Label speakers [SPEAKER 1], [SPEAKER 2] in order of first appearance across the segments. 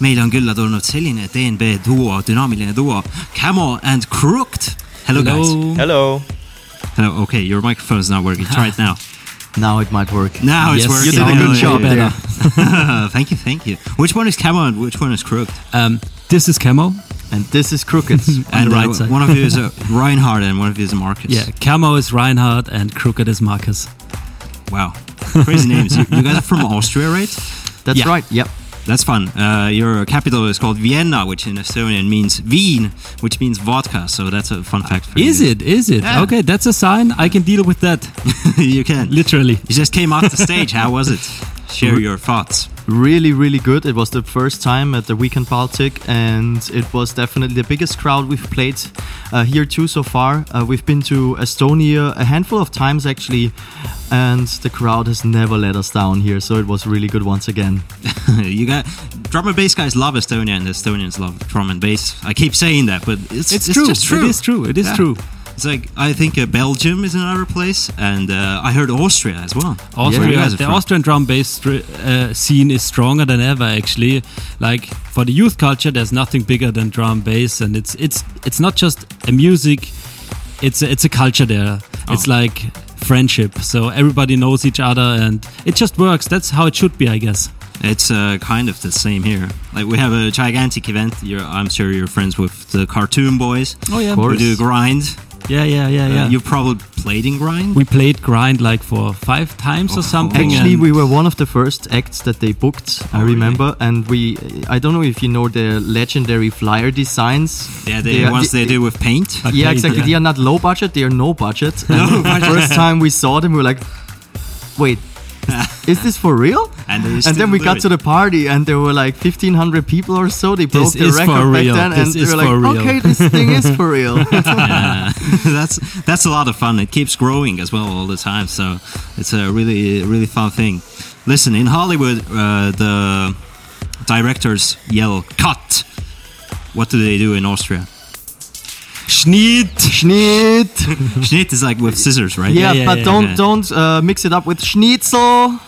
[SPEAKER 1] meil on külla tulnud selline DNB duo , dünaamiline duo , Camo and Crooked . Hello guys .
[SPEAKER 2] Hello.
[SPEAKER 1] Hello , okay , your microphone is not working , try it now .
[SPEAKER 3] Now it might work.
[SPEAKER 1] Now it's
[SPEAKER 3] Yes,
[SPEAKER 1] working.
[SPEAKER 2] You did a
[SPEAKER 3] now
[SPEAKER 2] good
[SPEAKER 3] it's
[SPEAKER 2] job
[SPEAKER 3] better.
[SPEAKER 1] thank you, thank you. Which one is Camo and which one is Crooked?
[SPEAKER 4] Um, this is Camo.
[SPEAKER 3] And this is crooked.
[SPEAKER 1] and
[SPEAKER 4] the right
[SPEAKER 1] uh,
[SPEAKER 4] side.
[SPEAKER 1] one of you is uh, Reinhard and one of you is Marcus.
[SPEAKER 4] Yeah, Camo is Reinhardt and Crooked is Marcus.
[SPEAKER 1] Wow. Crazy names. You, you guys are from Austria, right?
[SPEAKER 3] That's
[SPEAKER 4] Yeah.
[SPEAKER 3] right. Yep.
[SPEAKER 1] That's fun. Uh, your capital is called Vienna, which in Estonian means Wien, which means vodka. So that's a fun fact for you.
[SPEAKER 4] Is it? Is it?
[SPEAKER 1] Yeah.
[SPEAKER 4] Okay, that's a sign. I can deal with that.
[SPEAKER 1] you can. You
[SPEAKER 4] Literally.
[SPEAKER 1] just came off the stage. How was it? Share your thoughts.
[SPEAKER 3] Really, really good. It was the first time at the Weekend Baltic, and it was definitely the biggest crowd we've played uh, here too so far. Uh, we've been to Estonia a handful of times actually, and the crowd has never let us down here. So it was really good once again.
[SPEAKER 1] you got drum and bass guys love Estonia, and Estonians love drum and bass. I keep saying that, but it's
[SPEAKER 4] It's, true.
[SPEAKER 1] just true.
[SPEAKER 4] It is true. It is
[SPEAKER 1] Yeah.
[SPEAKER 4] true.
[SPEAKER 1] It's like I think uh, Belgium is another place, and uh, I heard Austria as well. Where
[SPEAKER 4] Austria,
[SPEAKER 1] you guys are
[SPEAKER 4] the
[SPEAKER 1] from.
[SPEAKER 4] Austrian drum bass stri- uh, scene is stronger than ever. Actually, like for the youth culture, there's nothing bigger than drum bass, and it's it's it's not just a music. It's a, it's a culture there. It's
[SPEAKER 1] Oh.
[SPEAKER 4] like friendship. So everybody knows each other, and it just works. That's how it should be, I guess.
[SPEAKER 1] It's uh, kind of the same here. Like we have a gigantic event. You're, I'm sure you're friends with the Cartoon Boys.
[SPEAKER 4] Oh yeah,
[SPEAKER 3] Of course.
[SPEAKER 1] We do grind.
[SPEAKER 4] yeah, yeah, yeah,
[SPEAKER 1] Uh,
[SPEAKER 4] yeah.
[SPEAKER 1] You've probably played in grind.
[SPEAKER 4] we played grind like for five times
[SPEAKER 1] Oh,
[SPEAKER 4] or something.
[SPEAKER 3] Actually,
[SPEAKER 4] and
[SPEAKER 3] we were one of the first acts that they booked.
[SPEAKER 1] Oh,
[SPEAKER 3] I
[SPEAKER 1] really?
[SPEAKER 3] remember, and we—I don't know if you know the legendary flyer designs.
[SPEAKER 1] yeah, the
[SPEAKER 3] are-
[SPEAKER 1] ones they do with paint.
[SPEAKER 4] I
[SPEAKER 3] Yeah,
[SPEAKER 4] paid,
[SPEAKER 3] exactly.
[SPEAKER 4] yeah.
[SPEAKER 3] They are not low budget. They are no budget. And
[SPEAKER 1] No budget.
[SPEAKER 3] First time we saw them, we were like, "Wait, is, is this for real?"
[SPEAKER 1] And they
[SPEAKER 3] And
[SPEAKER 1] still
[SPEAKER 3] then we
[SPEAKER 1] do
[SPEAKER 3] got
[SPEAKER 1] it.
[SPEAKER 3] to the party, and there were like 1,500 people or so. They broke the
[SPEAKER 4] is
[SPEAKER 3] record
[SPEAKER 4] for
[SPEAKER 3] back
[SPEAKER 4] real.
[SPEAKER 3] then,
[SPEAKER 4] This
[SPEAKER 3] and
[SPEAKER 4] is
[SPEAKER 3] we were
[SPEAKER 4] for
[SPEAKER 3] like,
[SPEAKER 4] real.
[SPEAKER 3] "Okay, this thing is for real."
[SPEAKER 1] Yeah. that's that's a lot of fun. It keeps growing as well all the time. So it's a really really fun thing. Listen, in Hollywood, uh, the directors yell "cut." What do they do in Austria?
[SPEAKER 4] Schneed.
[SPEAKER 3] Schnitt.
[SPEAKER 1] Schnitt is like with scissors, right?
[SPEAKER 3] Yeah,
[SPEAKER 4] Mm-hmm. yeah,
[SPEAKER 3] but
[SPEAKER 4] yeah,
[SPEAKER 3] don't
[SPEAKER 1] yeah.
[SPEAKER 3] don't uh, mix it up with Schnitzel.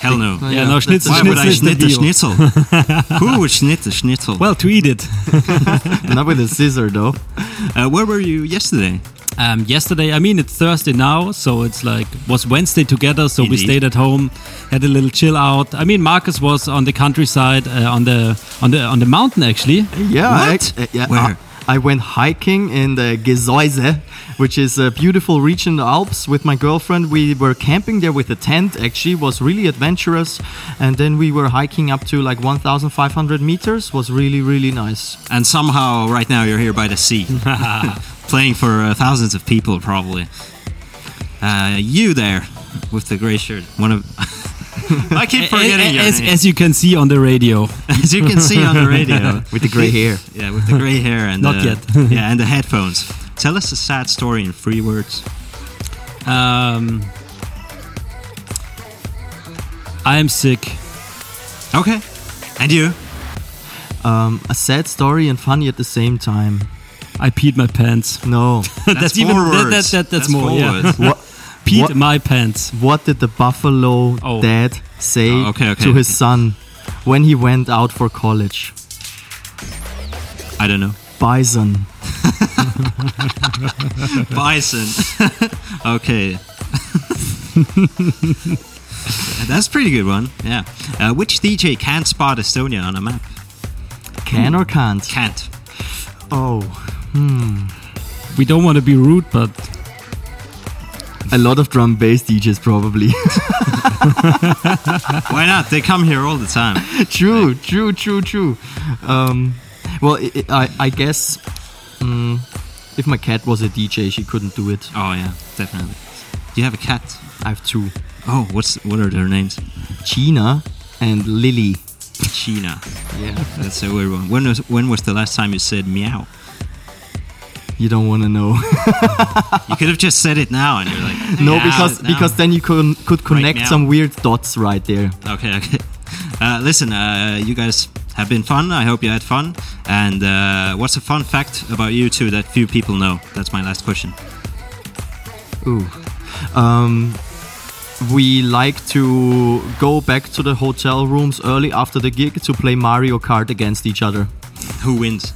[SPEAKER 1] Hell no.
[SPEAKER 4] Yeah, no,
[SPEAKER 3] that's-
[SPEAKER 4] Schnitzel-
[SPEAKER 1] Why would I
[SPEAKER 4] is the
[SPEAKER 1] schnit a
[SPEAKER 4] deal.
[SPEAKER 1] schnitzel? Who would schnit a schnitzel?
[SPEAKER 4] Well, to eat it.
[SPEAKER 3] Not with a scissor though.
[SPEAKER 1] uh, where were you yesterday?
[SPEAKER 4] um, yesterday. I mean, it's Thursday now, so it's like was Wednesday together. So we
[SPEAKER 1] Indeed.
[SPEAKER 4] stayed at home, had a little chill out. I mean, Marcus was on the countryside, uh, on the on the on the mountain actually.
[SPEAKER 3] Yeah, I
[SPEAKER 1] What?
[SPEAKER 3] ac- uh, yeah,
[SPEAKER 1] Where?
[SPEAKER 3] I- I went hiking in the Gesäuse, which is a beautiful region in the Alps with my girlfriend. We were camping there with a tent, actually, was really adventurous. And then we were hiking up to like 1,500 meters, was really, really nice.
[SPEAKER 1] And somehow, right now, you're here by the sea, playing for uh, thousands of people, probably. Uh, you there with the gray shirt, one of. I keep forgetting your
[SPEAKER 4] as,
[SPEAKER 1] name.
[SPEAKER 4] as you can see on the radio.
[SPEAKER 1] As you can see on the radio.
[SPEAKER 3] With the gray hair.
[SPEAKER 1] Yeah, with the gray hair and
[SPEAKER 4] Not
[SPEAKER 1] the,
[SPEAKER 4] yet.
[SPEAKER 1] yeah, and the headphones. Tell us a sad story in three words.
[SPEAKER 4] Um, I am sick.
[SPEAKER 1] Okay. And you?
[SPEAKER 3] Um, a sad story and funny at the same time.
[SPEAKER 4] I peed my pants.
[SPEAKER 3] No.
[SPEAKER 1] That's,
[SPEAKER 4] even-
[SPEAKER 1] four
[SPEAKER 4] that-
[SPEAKER 1] words.
[SPEAKER 4] that- that- that's more,
[SPEAKER 1] four
[SPEAKER 4] yeah.
[SPEAKER 1] words.
[SPEAKER 3] what,
[SPEAKER 4] Peed
[SPEAKER 3] What?
[SPEAKER 4] my pants.
[SPEAKER 3] what did the buffalo
[SPEAKER 4] Oh.
[SPEAKER 3] dad say
[SPEAKER 1] Oh, okay, okay,
[SPEAKER 3] to his
[SPEAKER 1] okay.
[SPEAKER 3] son when he went out for college?
[SPEAKER 1] I don't know.
[SPEAKER 3] Bison.
[SPEAKER 1] Bison. okay. That's a pretty good one. Yeah. Uh, which DJ can't spot Estonia on a map?
[SPEAKER 3] Can or can't?
[SPEAKER 1] Can't.
[SPEAKER 3] Oh.
[SPEAKER 4] We don't want to be rude, but
[SPEAKER 3] A lot of drum bass DJs probably.
[SPEAKER 1] Why not? They come here all the time.
[SPEAKER 3] true, true, true, true. Um, well, i i I, I guess mm, if my cat was a DJ, she couldn't do it.
[SPEAKER 1] Oh yeah, definitely. You have a cat.
[SPEAKER 3] I have two,
[SPEAKER 1] Oh, what's what are their names?
[SPEAKER 3] Gina and Lily.
[SPEAKER 1] China.
[SPEAKER 3] Yeah,
[SPEAKER 1] That's a weird one. When was when was the last time you said meow?
[SPEAKER 3] you don't want to know.
[SPEAKER 1] You could have just said it now, and you're like,
[SPEAKER 3] no,
[SPEAKER 1] "Meow,
[SPEAKER 3] because
[SPEAKER 1] meow."
[SPEAKER 3] because then you could could connect
[SPEAKER 1] now.
[SPEAKER 3] some weird dots right there.
[SPEAKER 1] Okay, okay. Uh, listen, uh, you guys have been fun. I hope you had fun. And uh, what's a fun fact about you two that few people know? That's my last question.
[SPEAKER 3] Ooh. Um, we like to go back to the hotel rooms early after the gig to play Mario Kart against each other.
[SPEAKER 1] Who wins?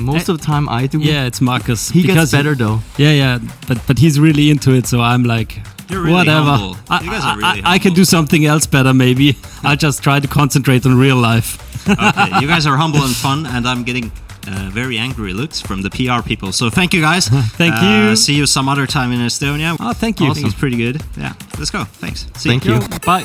[SPEAKER 3] Most of the time, I do.
[SPEAKER 4] Yeah, it's Marcus.
[SPEAKER 3] He gets
[SPEAKER 4] because
[SPEAKER 3] better though.
[SPEAKER 4] Yeah, yeah, but but he's really into it, so I'm like,
[SPEAKER 1] You're really
[SPEAKER 4] whatever.
[SPEAKER 1] humble.
[SPEAKER 4] I,
[SPEAKER 1] You guys are
[SPEAKER 4] I-
[SPEAKER 1] really
[SPEAKER 4] I, I can
[SPEAKER 1] humble.
[SPEAKER 4] do something else better, maybe. I just try to concentrate on real life.
[SPEAKER 1] okay, you guys are humble and fun, and I'm getting uh, very angry looks from the PR people. So thank you guys.
[SPEAKER 4] Thank
[SPEAKER 1] Uh,
[SPEAKER 4] you.
[SPEAKER 1] See you some other time in Estonia.
[SPEAKER 4] Oh, thank you.
[SPEAKER 1] I think it's pretty good. Yeah, let's go. Thanks. See
[SPEAKER 3] Thank you.
[SPEAKER 4] Bye.